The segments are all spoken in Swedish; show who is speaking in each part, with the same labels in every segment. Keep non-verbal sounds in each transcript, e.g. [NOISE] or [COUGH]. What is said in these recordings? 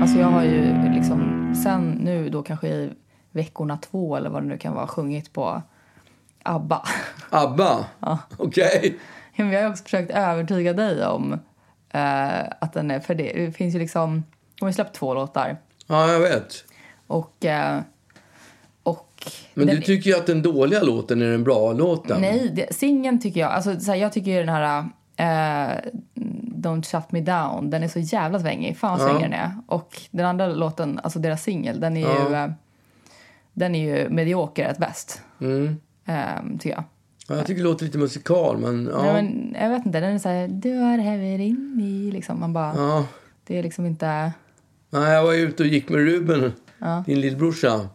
Speaker 1: Alltså, liksom, då kanske i veckorna två eller vad det nu kan vara sjungit på ABBA. [LAUGHS]
Speaker 2: ABBA?
Speaker 1: Ja.
Speaker 2: Okej.
Speaker 1: Ja, men Jag har också försökt övertyga dig om eh, att den är... För det, det finns ju liksom... De har ju släppt två låtar.
Speaker 2: Ja, jag vet.
Speaker 1: Och... Eh, och
Speaker 2: Men
Speaker 1: den,
Speaker 2: du tycker ju att den dåliga låten är den bra låten.
Speaker 1: Nej, det- singeln tycker jag... Alltså, så här, jag tycker ju den här... eh, Don't shut me down. Den är så jävla svängig. Fan vad
Speaker 2: Ja.
Speaker 1: svängig den är. Och den andra låten, alltså deras singel, den är ju...
Speaker 2: Ja.
Speaker 1: eh, Den är ju medioker att bäst,
Speaker 2: Mm.
Speaker 1: eh, tycker jag.
Speaker 2: Ja, jag tycker det låter lite musikal, men ja.
Speaker 1: Nej, men, jag vet inte, den är så här... Du är heavy in me, liksom. Man bara...
Speaker 2: ja.
Speaker 1: Det är liksom inte...
Speaker 2: Nej, jag var ute och gick med Ruben,
Speaker 1: Ja. [LAUGHS]
Speaker 2: din lillbrorsa.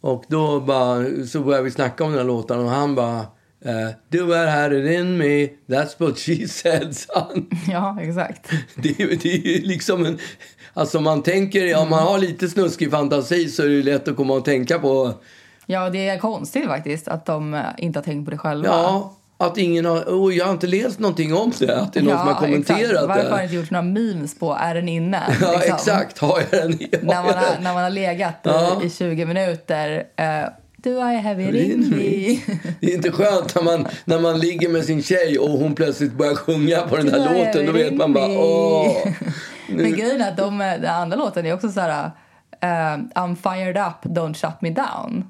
Speaker 2: Och då bara, så började vi snacka om den här låten och han bara eh, Du är här in me, that's what she [LAUGHS] said, sa han.
Speaker 1: Ja, exakt.
Speaker 2: [LAUGHS] Det, är ju- det är ju liksom en... Alltså man tänker, om man har lite snuskig fantasi så är det ju lätt att komma och tänka på
Speaker 1: Ja, det är konstigt faktiskt att de eh, inte har tänkt på det själva.
Speaker 2: Ja, att ingen har... Oh, jag har inte läst någonting om det. Att det är någon som har kommenterat
Speaker 1: exakt. Varför har det
Speaker 2: det.
Speaker 1: inte gjort några memes på är den inne?
Speaker 2: [LAUGHS] Ja,
Speaker 1: liksom?
Speaker 2: exakt. Har jag den?
Speaker 1: När
Speaker 2: Har
Speaker 1: man
Speaker 2: jag
Speaker 1: har,
Speaker 2: den?
Speaker 1: när man har legat
Speaker 2: Ja.
Speaker 1: i, i 20 minuter. eh, du är heavy
Speaker 2: Ring
Speaker 1: ring me.
Speaker 2: Det är inte skönt när man, när man ligger med sin tjej och hon plötsligt börjar sjunga på den
Speaker 1: Du
Speaker 2: där
Speaker 1: är
Speaker 2: låten. Då
Speaker 1: heavy
Speaker 2: vet man bara
Speaker 1: ring me.
Speaker 2: åh.
Speaker 1: [LAUGHS] [LAUGHS] Men grejen är att de, eh, den andra låten är också så här... eh, I'm fired up, don't shut me down.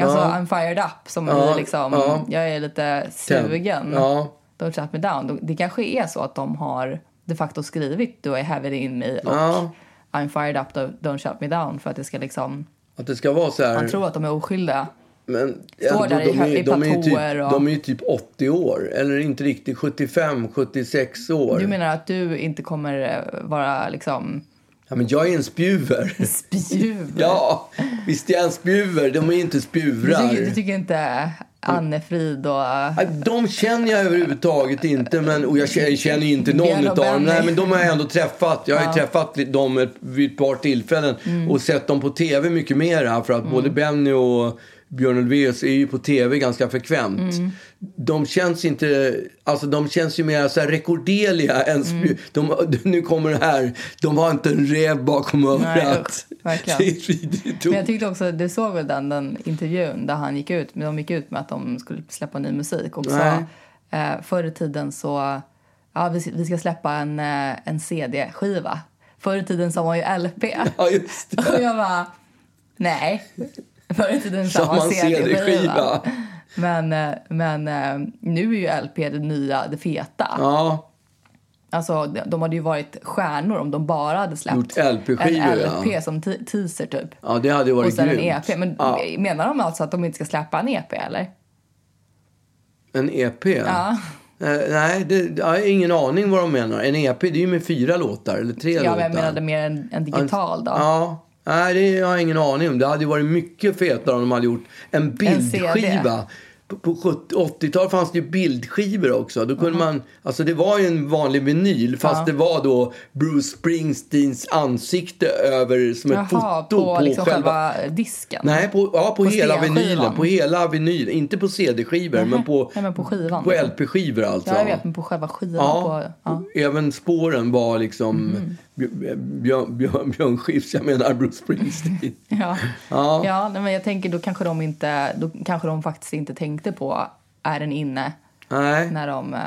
Speaker 1: Alltså,
Speaker 2: Ja.
Speaker 1: I'm fired up, som
Speaker 2: Ja,
Speaker 1: är liksom...
Speaker 2: ja.
Speaker 1: Jag är lite sugen.
Speaker 2: Ja,
Speaker 1: Don't shut me down. De- Det kanske är så att de har de facto skrivit Du är heavy in me och
Speaker 2: Ja.
Speaker 1: I'm fired up, don't- don't shut me down för att det ska liksom...
Speaker 2: att det ska vara så här.
Speaker 1: Man tror att de är oskyldiga.
Speaker 2: Men
Speaker 1: Står där i
Speaker 2: de,
Speaker 1: hö-
Speaker 2: är,
Speaker 1: i
Speaker 2: de, är ju
Speaker 1: platåer
Speaker 2: typ,
Speaker 1: och-
Speaker 2: de är ju typ 80 år. Eller inte riktigt, 75, 76 år.
Speaker 1: Du menar att du inte kommer eh, vara liksom
Speaker 2: Ja, men jag är en spjuver. [LAUGHS]
Speaker 1: spjuv?
Speaker 2: Ja, visst är jag en spjuver. De är ju inte
Speaker 1: Du
Speaker 2: spjuvrar.
Speaker 1: tycker, du tycker inte Anne-Frid och...
Speaker 2: Nej, Äh, De känner jag överhuvudtaget inte, men, och jag känner- känner ju inte någon
Speaker 1: Björn och
Speaker 2: utav dem.
Speaker 1: Benny.
Speaker 2: Nej, men de har jag ändå träffat. Jag har ju träffat dem ett- vid ett par tillfällen
Speaker 1: Mm.
Speaker 2: och sett dem på tv mycket mera. För att både Benny och Björn Ulvaeus är ju på tv ganska frekvent.
Speaker 1: Mm.
Speaker 2: De känns inte, alltså de känns ju mer så här rekorderliga än spju-
Speaker 1: Mm.
Speaker 2: de, [LAUGHS] Nu kommer det här, de har inte en räv bakom
Speaker 1: Nej,
Speaker 2: örat.
Speaker 1: usch,
Speaker 2: [LAUGHS]
Speaker 1: verkligen.
Speaker 2: Det är ett vidrigt ord.
Speaker 1: Men jag tyckte också, du såg väl den, den intervjun där han gick ut, men de gick ut med att de skulle släppa ny musik och
Speaker 2: Nej.
Speaker 1: sa eh, förr i tiden så, ja vi, vi ska släppa en, eh, en CD-skiva. Förr i tiden sa man ju LP.
Speaker 2: Ja, just
Speaker 1: [LAUGHS]
Speaker 2: det.
Speaker 1: och jag bara, nej. Förr i tiden
Speaker 2: Som
Speaker 1: sa man
Speaker 2: en
Speaker 1: CD-skiva.
Speaker 2: CD-skiva.
Speaker 1: Men, eh, men eh, nu är ju LP det nya, det feta.
Speaker 2: Ja.
Speaker 1: Alltså de- de hade ju varit stjärnor om de bara hade släppt
Speaker 2: Gjort LP-skivor,
Speaker 1: en
Speaker 2: ja.
Speaker 1: LP som te- teaser typ.
Speaker 2: Ja, det hade ju varit
Speaker 1: Och sen en
Speaker 2: grymt.
Speaker 1: EP. Men
Speaker 2: ja,
Speaker 1: menar de alltså att de inte ska släppa en EP eller?
Speaker 2: en EP?
Speaker 1: Ja.
Speaker 2: Eh, nej, det, jag har ingen aning vad de menar. En EP, det är ju med fyra låtar, eller tre
Speaker 1: Ja,
Speaker 2: låtar.
Speaker 1: men jag menade mer en, en digital då.
Speaker 2: Ja. Nej, det har jag ingen aning om. Det hade ju varit mycket fetare om de hade gjort en bildskiva.
Speaker 1: CD.
Speaker 2: på på 70 80-talet fanns det ju bildskivor också. Då kunde man, alltså det var ju en vanlig vinyl fast det
Speaker 1: Ja.
Speaker 2: var då Bruce Springsteens ansikte över som ett
Speaker 1: Jaha,
Speaker 2: foto
Speaker 1: på, liksom själva disken?
Speaker 2: Nej, på, ja, på,
Speaker 1: På
Speaker 2: hela
Speaker 1: stenskivan.
Speaker 2: vinylen. På hela vinyl. Inte på CD-skivor, men på,
Speaker 1: Nej, men på skivan. liksom.
Speaker 2: på LP-skivor alltså.
Speaker 1: Ja, jag vet, men på själva skivan. På,
Speaker 2: Ja,
Speaker 1: ja. [LAUGHS] Mm.
Speaker 2: och även spåren var liksom Björn, Björn, Björn, Björn Skifs, jag menar Bruce Springsteen.
Speaker 1: Ja.
Speaker 2: Ja.
Speaker 1: Ja, nej, men jag tänker då kanske de inte, då kanske de faktiskt inte tänkte på är den inne
Speaker 2: Nej.
Speaker 1: när de, eh,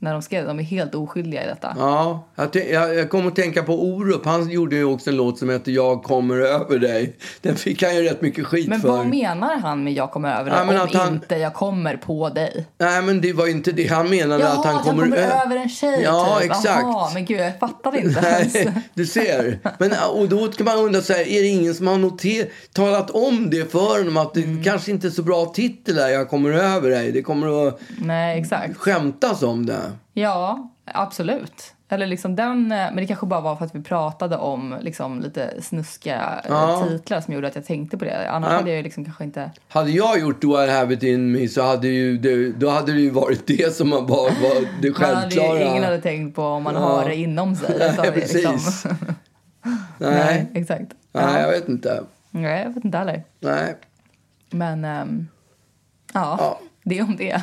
Speaker 1: när de skrev. De är helt oskyldiga i detta.
Speaker 2: Ja, jag, tän- jag, jag kom att tänka på Orup. Han gjorde ju också en låt som heter Jag kommer över dig. Den fick han ju rätt mycket skit
Speaker 1: Men
Speaker 2: för.
Speaker 1: vad menar han med jag kommer över dig
Speaker 2: Ja, men
Speaker 1: om
Speaker 2: att han-
Speaker 1: inte jag kommer på dig?
Speaker 2: Nej, men det var ju inte det han menade
Speaker 1: Jaha,
Speaker 2: att han kommer, ö-
Speaker 1: över en tjej
Speaker 2: Ja,
Speaker 1: typ.
Speaker 2: exakt.
Speaker 1: Jaha, men gud jag fattade inte
Speaker 2: [LAUGHS]
Speaker 1: ens.
Speaker 2: Nej, du ser. Men, och då kan man undra, så här, är det ingen som har noter, talat om det för honom? Att det
Speaker 1: Mm.
Speaker 2: kanske inte är så bra titel där, Jag kommer över dig. Det kommer att
Speaker 1: Nej, exakt.
Speaker 2: skämtas om det.
Speaker 1: Ja, absolut. Eller liksom den, eh, men det kanske bara var för att vi pratade om liksom lite snuska eh,
Speaker 2: Ja.
Speaker 1: titlar som gjorde att jag tänkte på det. Annars
Speaker 2: Ja.
Speaker 1: hade jag ju liksom kanske inte...
Speaker 2: Hade jag gjort Do I have it in me så hade ju det, då hade det ju varit det som var, var det
Speaker 1: Man hade ju,
Speaker 2: självklara. [LAUGHS]
Speaker 1: ingen hade tänkt på om man
Speaker 2: Ja.
Speaker 1: har det inom sig. utan det
Speaker 2: [LAUGHS] Nej,
Speaker 1: är liksom- [LAUGHS]
Speaker 2: precis.
Speaker 1: Nej,
Speaker 2: Nej.
Speaker 1: exakt.
Speaker 2: Nej,
Speaker 1: Ja.
Speaker 2: jag vet inte.
Speaker 1: Nej, jag vet inte heller.
Speaker 2: Nej.
Speaker 1: Men ehm, ja,
Speaker 2: Ja.
Speaker 1: det om det.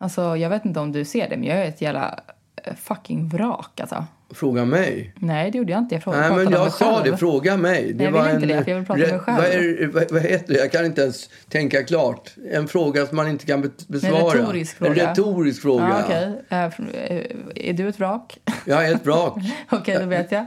Speaker 1: Alltså, jag vet inte om du ser det, men jag är ett jävla eh, fucking vrak alltså.
Speaker 2: Fråga mig.
Speaker 1: Nej, det gjorde jag inte. Jag frågade
Speaker 2: Nej,
Speaker 1: pratade
Speaker 2: men
Speaker 1: om mig
Speaker 2: jag sa
Speaker 1: själv.
Speaker 2: det. Fråga mig.
Speaker 1: jag vill inte det, för jag vill prata om mig
Speaker 2: re-
Speaker 1: själv.
Speaker 2: Vad, är, vad, vad heter det? Jag kan inte ens tänka klart. En fråga som man inte kan be- besvara.
Speaker 1: retorisk fråga.
Speaker 2: En retorisk fråga.
Speaker 1: Ja, okej. Eh, fr- eh, Är du ett vrak? [LAUGHS]
Speaker 2: Jag är ett vrak.
Speaker 1: okej, då vet jag.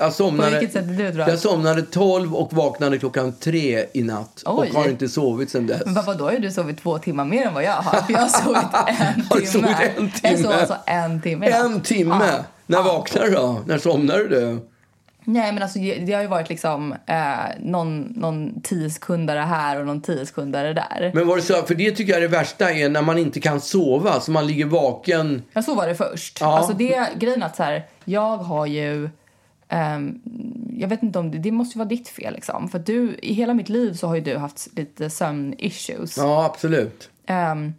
Speaker 2: Jag somnade,
Speaker 1: [LAUGHS] På vilket sätt är du ett vrak?
Speaker 2: Jag somnade 12 och vaknade klockan 3 i natt.
Speaker 1: Oj.
Speaker 2: Och har inte sovit sedan dess.
Speaker 1: Men pappa, då har ju du sovit två timmar mer än vad jag har. För jag
Speaker 2: [LAUGHS]
Speaker 1: har sovit en
Speaker 2: Har
Speaker 1: timme.
Speaker 2: du sovit en
Speaker 1: Jag sov
Speaker 2: timme?
Speaker 1: alltså en timme. idag.
Speaker 2: En timme?
Speaker 1: Ja.
Speaker 2: När vaknar du då? När somnar du?
Speaker 1: Nej, men alltså, det har ju varit liksom eh, någon, någon tio sekundare här och någon tio sekundare där.
Speaker 2: Men var det så, för det tycker jag är det värsta är när man inte kan sova. Så man ligger vaken.
Speaker 1: Ja, så var det först.
Speaker 2: Ja.
Speaker 1: Alltså det, grejen är att så här, jag har ju... ehm, jag vet inte om det, det måste ju vara ditt fel liksom. För att du, i hela mitt liv så har ju du haft lite sömn-issues.
Speaker 2: Ja, absolut.
Speaker 1: Ehm,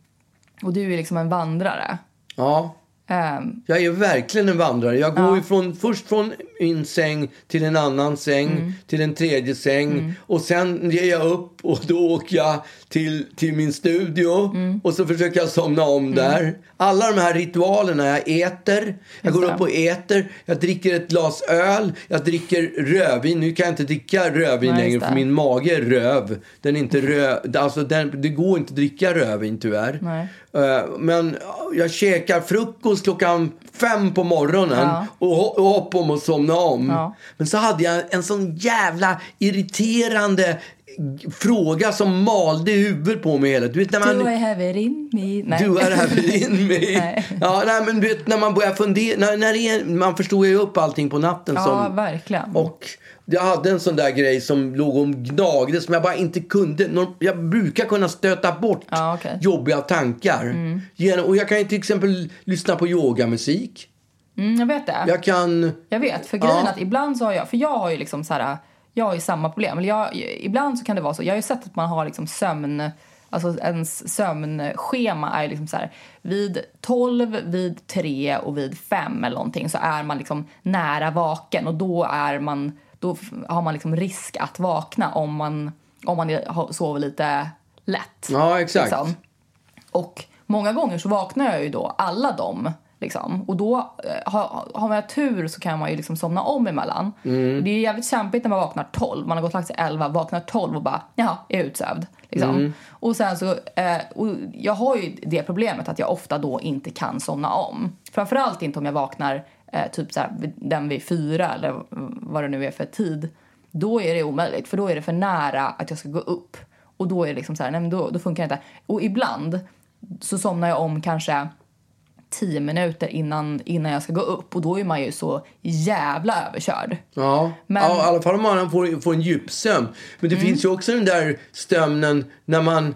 Speaker 1: och du är liksom en vandrare.
Speaker 2: Ja.
Speaker 1: Ehm,
Speaker 2: Jag är verkligen en vandrare. Jag går ifrån, först från min säng till en annan säng,
Speaker 1: Mm.
Speaker 2: till en tredje säng. Och sen ger jag upp och då åker jag till, till min studio
Speaker 1: Mm.
Speaker 2: och så försöker jag somna om där. Alla de här ritualerna. Jag äter, jag går
Speaker 1: det.
Speaker 2: upp och äter, jag dricker ett glas öl, jag dricker rödvin. Nu kan jag inte dricka rödvin
Speaker 1: Nej, just
Speaker 2: längre
Speaker 1: det. Mm.
Speaker 2: för min mage är röv. Den är inte röd, alltså den, det går inte att dricka rödvin tyvärr.
Speaker 1: Nej.
Speaker 2: Eh, Men jag käkar frukost klockan fem på morgonen
Speaker 1: Ja.
Speaker 2: och ho- och hopp om att somna om.
Speaker 1: Ja.
Speaker 2: Men så hade jag en sån jävla irriterande g- fråga som malde i huvudet på mig hela Du vet när man...
Speaker 1: Do I have it in me? Nej.
Speaker 2: Du har även
Speaker 1: [LAUGHS]
Speaker 2: in mig.
Speaker 1: Nej.
Speaker 2: Ja, nej, men du vet, när man börjar fundera, när, när det är, man förstår ju upp allting på natten
Speaker 1: Ja,
Speaker 2: som,
Speaker 1: verkligen.
Speaker 2: och jag hade en sån där grej som låg och gnagde som jag bara inte kunde. Norm- Jag brukar kunna stöta bort
Speaker 1: Ja, okej. Mm.
Speaker 2: jobbiga tankar. Genom, och jag kan ju till exempel lyssna på yogamusik.
Speaker 1: Mm, jag vet det.
Speaker 2: Jag kan...
Speaker 1: Jag vet, för grejen
Speaker 2: Ja.
Speaker 1: är att ibland så har jag, för jag har ju liksom så här, jag har ju samma problem. Eller jag, ibland så kan det vara så, jag har ju sett att man har liksom sömn, alltså ens sömnschema är ju liksom så här, vid 12, vid 3 och vid 5 eller någonting så är man liksom nära vaken och då är man, då f- har man liksom risk att vakna om man, om man är- har- sover lite lätt.
Speaker 2: Ja, exakt.
Speaker 1: Liksom. Och många gånger så vaknar jag ju då alla dem. Liksom. Och då eh, har, har man tur så kan man ju liksom somna om emellan.
Speaker 2: Mm.
Speaker 1: Det är jävligt kämpigt när man vaknar 12. Man har gått och lagt sig 11, vaknar 12 och bara jaha, jag är utsövd. Liksom.
Speaker 2: Mm.
Speaker 1: Och sen så, eh, och jag har ju det problemet att jag ofta då inte kan somna om. Framförallt inte om jag vaknar eh, typ så här, vid- den vid fyra eller vad det nu är för tid. Då är det omöjligt för då är det för nära att jag ska gå upp. Och då är det liksom så här, nej men då, då funkar det inte. Och ibland så somnar jag om kanske tio minuter innan, innan jag ska gå upp och då är man ju så jävla överkörd.
Speaker 2: Ja,
Speaker 1: Men- Mm.
Speaker 2: ja i alla fall om man får, får en djupsömn. Men det finns ju också den där stömnen när man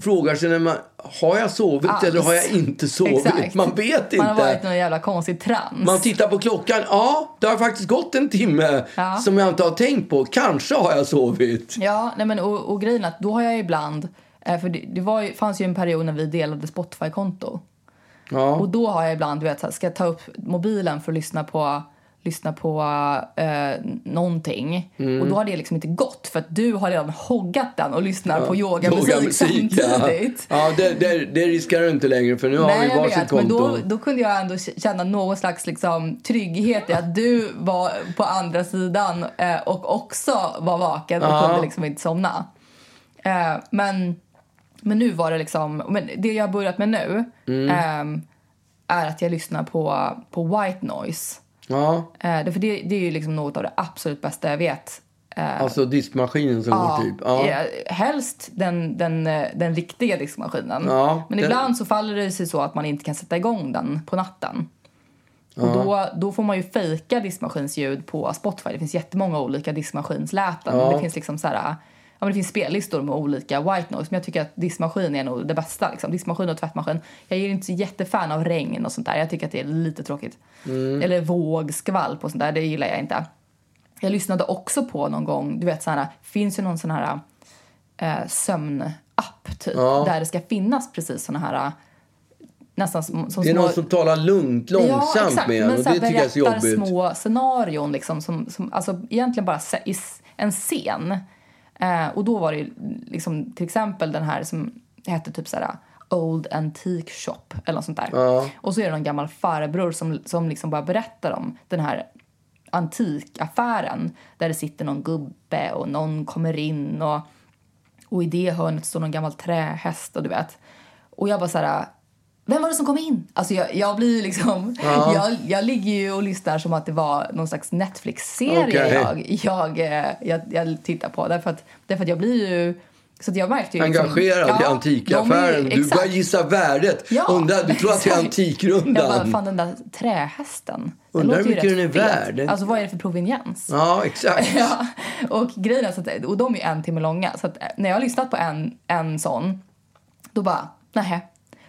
Speaker 2: frågar sig när man, har jag sovit
Speaker 1: Alls.
Speaker 2: eller har jag inte sovit? Man vet inte.
Speaker 1: Ah, Man har varit i någon jävla konstig trans.
Speaker 2: Man tittar på klockan. Ja, det har faktiskt gått en timme
Speaker 1: Ja.
Speaker 2: som jag inte har tänkt på. Kanske har jag sovit.
Speaker 1: Ja, nej men och, och grejen är att då har jag ibland, eh, för det, det var ju, fanns ju en period när vi delade Spotify-konto.
Speaker 2: Ja.
Speaker 1: Och då har jag ibland, du vet, så här, ska jag ta upp mobilen för att lyssna på lyssna på eh, någonting
Speaker 2: Mm.
Speaker 1: och då har det liksom inte gått för att du har redan hoggat den och lyssnar på yogamusik
Speaker 2: Yogamusik,
Speaker 1: samtidigt.
Speaker 2: Ja, ja det, det, det riskerar du inte längre för nu har vi
Speaker 1: Nej, jag
Speaker 2: varsitt
Speaker 1: vet, men
Speaker 2: konto.
Speaker 1: då, då kunde jag ändå k- känna någon slags liksom, trygghet i att du var på andra sidan eh, och också var vaken och
Speaker 2: Ja.
Speaker 1: kunde liksom inte somna. Eh, men, men nu var det liksom... Men det jag har börjat med nu
Speaker 2: Mm.
Speaker 1: ehm, är att jag lyssnar på, på white noise.
Speaker 2: Ja,
Speaker 1: Eh, det, för det, det är ju liksom något av det absolut bästa jag vet.
Speaker 2: alltså diskmaskinen som går typ. Ja.
Speaker 1: eh, Helst den, den, eh, den riktiga diskmaskinen.
Speaker 2: Ja,
Speaker 1: Men
Speaker 2: den-
Speaker 1: ibland så faller det sig så att man inte kan sätta igång den på natten. Och då, då får man ju fejka diskmaskinsljud på Spotify. Det finns jättemånga olika diskmaskinsläten.
Speaker 2: Ja.
Speaker 1: Det finns liksom så här, ja, men det finns spellistor med olika white noise. Men jag tycker att diskmaskin är nog det bästa. Liksom. Diskmaskin och tvättmaskin. Jag är inte så jättefan av regn och sånt där. Jag tycker att det är lite tråkigt.
Speaker 2: Mm.
Speaker 1: Eller våg, skvalp och sånt där. Det gillar jag inte. Jag lyssnade också på någon gång, du vet sån här, finns ju någon sån här eh, sömnapp typ.
Speaker 2: Ja.
Speaker 1: Där det ska finnas precis såna här eh, nästan som, som
Speaker 2: Det är någon som talar lugnt, långsamt
Speaker 1: ja, exakt,
Speaker 2: med en
Speaker 1: men
Speaker 2: och det
Speaker 1: så här
Speaker 2: tycker jag är så
Speaker 1: berättar
Speaker 2: jobbigt.
Speaker 1: små scenarion liksom som, som alltså egentligen bara se, i s- en scen. Eh, och då var det ju liksom till exempel den här som hette typ så här Old Antique Shop eller något sånt där.
Speaker 2: Ja.
Speaker 1: Och så är det någon gammal farbror som, som liksom bara berättar om den här antikaffären där det sitter någon gubbe och någon kommer in och, och i det hörnet står någon gammal trähäst och du vet. Och jag bara så här, vem var det som kom in? Alltså jag, jag blir ju liksom, [LAUGHS] jag, jag ligger ju och lyssnar som att det var någon slags Netflix-serie
Speaker 2: Okej.
Speaker 1: jag, jag, eh, jag, jag tittar på. Därför att, därför att jag blir ju, så att jag märkte ju
Speaker 2: Engagerad
Speaker 1: liksom,
Speaker 2: i antikaffären.
Speaker 1: de är-
Speaker 2: du
Speaker 1: exakt.
Speaker 2: börjar gissa värdet.
Speaker 1: Ja,
Speaker 2: Undrar, du tror att det är
Speaker 1: [LAUGHS] exakt.
Speaker 2: antikrundan.
Speaker 1: Jag bara, fan den där trähästen. den
Speaker 2: Undrar hur
Speaker 1: låter ju
Speaker 2: mycket
Speaker 1: rätt
Speaker 2: den är
Speaker 1: fet.
Speaker 2: värd.
Speaker 1: Alltså vad är det för proveniens?
Speaker 2: [LAUGHS] Ja, exakt.
Speaker 1: [LAUGHS] Ja. Och grejen är så att, och de är ju en timme långa. Så att eh, när jag har lyssnat på en, en sån, då bara, nähä.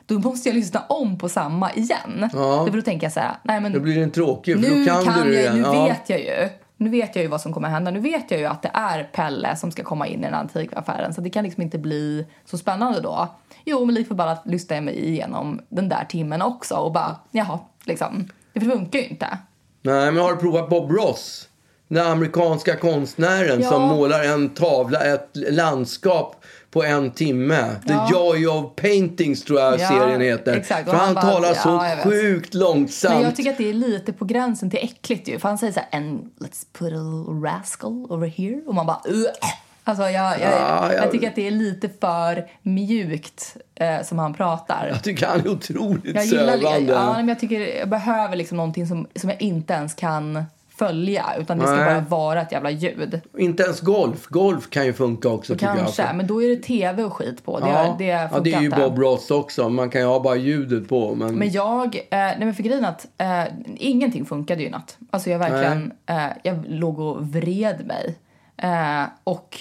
Speaker 1: Då måste jag lyssna om på samma igen.
Speaker 2: Ja.
Speaker 1: Därför då tänker jag så här, nej men
Speaker 2: Då blir den tråkig, för
Speaker 1: nu
Speaker 2: då kan, du det
Speaker 1: jag,
Speaker 2: igen.
Speaker 1: nu
Speaker 2: Ja.
Speaker 1: vet jag ju. Nu vet jag ju vad som kommer hända. Nu vet jag ju att det är Pelle som ska komma in i den antikaffären. Så det kan liksom inte bli så spännande då. Jo, men lik förbannat lyssnar jag mig igenom den där timmen också och bara, jaha, liksom. Det funkar ju inte.
Speaker 2: Nej, men har du provat Bob Ross? Den amerikanska konstnären
Speaker 1: Ja.
Speaker 2: som målar en tavla, ett landskap på en timme. The Joy of Paintings tror jag
Speaker 1: Ja,
Speaker 2: serien heter.
Speaker 1: exakt.
Speaker 2: För
Speaker 1: Och han
Speaker 2: han
Speaker 1: bara-
Speaker 2: talar så
Speaker 1: ja, jag vet.
Speaker 2: sjukt långsamt.
Speaker 1: Men jag tycker att det är lite på gränsen till äckligt ju. För han säger så här, and let's put a little rascal over here. Och man bara, Ugh. Alltså jag, jag,
Speaker 2: Ja,
Speaker 1: jag,
Speaker 2: jag-
Speaker 1: tycker att det är lite för mjukt eh, som han pratar.
Speaker 2: Jag tycker han är otroligt
Speaker 1: Jag gillar
Speaker 2: sövande.
Speaker 1: ja, men jag tycker jag behöver liksom någonting som, som jag inte ens kan följa utan det ska
Speaker 2: Nej.
Speaker 1: bara vara ett jävla ljud.
Speaker 2: Inte ens golf. Golf kan ju funka också tycker jag.
Speaker 1: Kanske, men då är det tv och skit på. Det,
Speaker 2: Ja,
Speaker 1: det
Speaker 2: det,
Speaker 1: funkar
Speaker 2: ja, det är ju
Speaker 1: inte.
Speaker 2: Bob Ross också. Man kan ju ha bara ljudet på. Men,
Speaker 1: Men jag, eh, nej men för grejen är att eh, ingenting funkade ju i natt. Alltså jag verkligen, eh, jag låg och vred mig. Eh, och,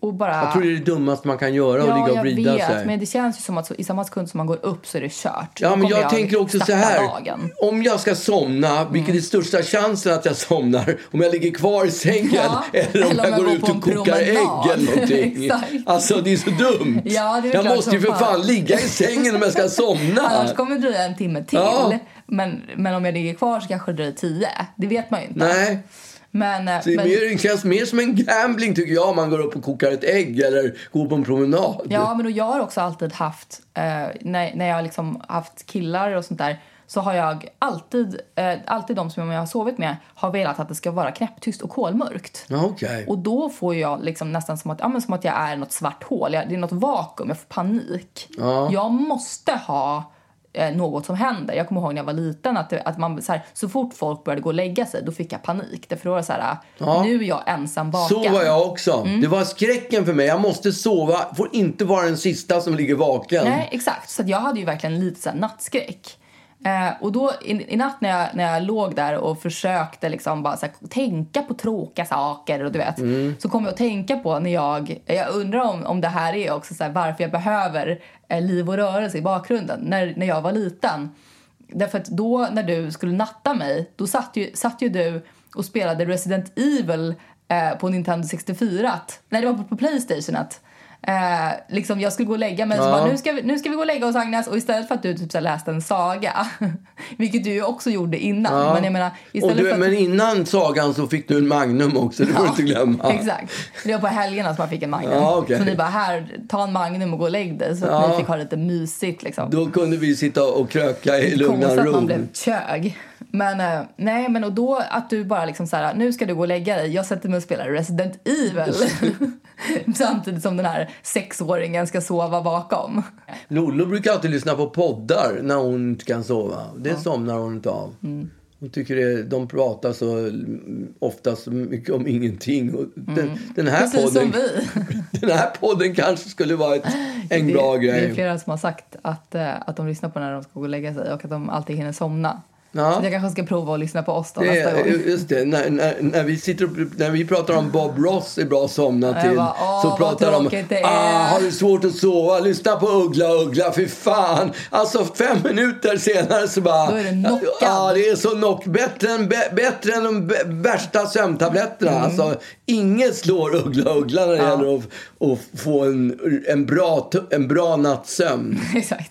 Speaker 1: och bara...
Speaker 2: jag tror det är det dummaste man kan göra, att ligga och vrida
Speaker 1: jag vet,
Speaker 2: sig.
Speaker 1: men det känns ju som att så, i samma sekund som man går upp så är det kört.
Speaker 2: Ja,
Speaker 1: Då
Speaker 2: men
Speaker 1: kommer
Speaker 2: jag tänker också så
Speaker 1: starta
Speaker 2: här.
Speaker 1: Dagen. Mm.
Speaker 2: Om jag ska somna, vilket är största chansen att jag somnar? Om jag ligger kvar i sängen
Speaker 1: Ja,
Speaker 2: [LAUGHS] eller om
Speaker 1: eller
Speaker 2: jag,
Speaker 1: om jag
Speaker 2: går
Speaker 1: går
Speaker 2: ut
Speaker 1: på en
Speaker 2: och kokar
Speaker 1: promenad.
Speaker 2: ägg eller någonting.
Speaker 1: [LAUGHS] Exakt.
Speaker 2: alltså det är så dumt.
Speaker 1: Ja, det är
Speaker 2: jag
Speaker 1: klart
Speaker 2: måste
Speaker 1: som
Speaker 2: ju för fan.
Speaker 1: fan.
Speaker 2: ligga i sängen om jag ska somna.
Speaker 1: [LAUGHS] Annars kommer det dröja en timme till.
Speaker 2: Ja.
Speaker 1: Men, men om jag ligger kvar så kanske det dröjer tio. Det vet man ju inte.
Speaker 2: Nej,
Speaker 1: Men, eh,
Speaker 2: det, är
Speaker 1: men,
Speaker 2: mer, det känns mer som en gambling tycker jag om man går upp och kokar ett ägg eller går på en promenad.
Speaker 1: ja, men och jag har också alltid haft, eh, när, när jag liksom haft killar och sånt där, så har jag alltid, eh, alltid de som jag har sovit med har velat att det ska vara knäpptyst och kolmörkt.
Speaker 2: Ja, Okej.
Speaker 1: Och då får jag liksom nästan som att, ja, men som att jag är något svart hål. Jag, det är något vakuum, jag får panik. Jag måste ha eh, något som händer. Jag kommer ihåg när jag var liten att, det- att man, så, här, så fort folk började gå och lägga sig då fick jag panik. Därför då var det så här, nu är jag ensam
Speaker 2: Så
Speaker 1: vaken.
Speaker 2: var jag också.
Speaker 1: Mm.
Speaker 2: Det var skräcken för mig. Jag måste sova. Får inte vara den sista som ligger vaken.
Speaker 1: Nej, exakt. Så att jag hade ju verkligen lite så här nattskräck. Eh, och då i, i natt när jag, när jag låg där och försökte liksom bara så här, tänka på tråkiga saker och du vet. Så kom jag att tänka på när jag, jag undrar om, om det här är också så här, varför jag behöver eh, liv och rörelse i bakgrunden. När, när jag var liten. Därför att då när du skulle natta mig, då satt ju, satt ju du och spelade Resident Evil eh, på Nintendo 64. Nej, det var på, på Playstation. Eh, liksom jag skulle gå och lägga mig och så bara, nu ska, vi, nu ska vi gå och lägga oss Agnes och istället för att du typ så här läste en saga, [LAUGHS] vilket du ju också gjorde innan.
Speaker 2: Ja.
Speaker 1: Men jag menar,
Speaker 2: Och
Speaker 1: istället för
Speaker 2: du,
Speaker 1: att...
Speaker 2: men innan sagan så fick du en Magnum också, det får du inte glömma.
Speaker 1: Exakt. Det var på helgerna som man fick en Magnum.
Speaker 2: Ja, okej.
Speaker 1: Så ni bara, här, ta en Magnum och gå och lägg dig så att
Speaker 2: Ja.
Speaker 1: ni fick ha lite mysigt liksom.
Speaker 2: Då kunde vi sitta och kröka i lugn
Speaker 1: Konstigt
Speaker 2: och
Speaker 1: att man
Speaker 2: ro.
Speaker 1: blev kög. Men eh, nej, men och då att du bara liksom så här, nu ska du gå och lägga dig. Jag sätter mig och spelar Resident Evil. [LAUGHS] Samtidigt som den här sexåringen ska sova bakom.
Speaker 2: Lollo brukar alltid lyssna på poddar när hon inte kan sova. Det somnar hon inte av.
Speaker 1: Mm.
Speaker 2: Hon tycker det, de pratar så mm, ofta så mycket om ingenting. Och den, den, här
Speaker 1: Mm. Precis som
Speaker 2: podden,
Speaker 1: vi.
Speaker 2: den här podden kanske skulle vara ett, [LAUGHS] en bra
Speaker 1: det, det är
Speaker 2: grej.
Speaker 1: flera som har sagt att, eh, att de lyssnar på när de ska gå och lägga sig och att de alltid hinner somna.
Speaker 2: Ja.
Speaker 1: Så jag kanske ska prova att lyssna på oss då
Speaker 2: Det
Speaker 1: nästa
Speaker 2: är,
Speaker 1: gång.
Speaker 2: just det, när, när, när, vi sitter och, när vi pratar om Bob Ross i bra somna
Speaker 1: jag
Speaker 2: till
Speaker 1: bara, åh,
Speaker 2: så
Speaker 1: vad
Speaker 2: pratar de
Speaker 1: tråkigt det är.
Speaker 2: ah, har du svårt att sova? Lyssna på Uggla Uggla, fy fan! Alltså fem minuter senare så bara...
Speaker 1: Då är du knockad.
Speaker 2: Ja, det är så knock. Bättre än, bä- bättre än de bä- värsta sömntabletterna.
Speaker 1: Mm.
Speaker 2: Alltså, inget slår Uggla Uggla när det gäller att, att få en, en, bra, t- en bra nattsömn.
Speaker 1: [LAUGHS] Exakt.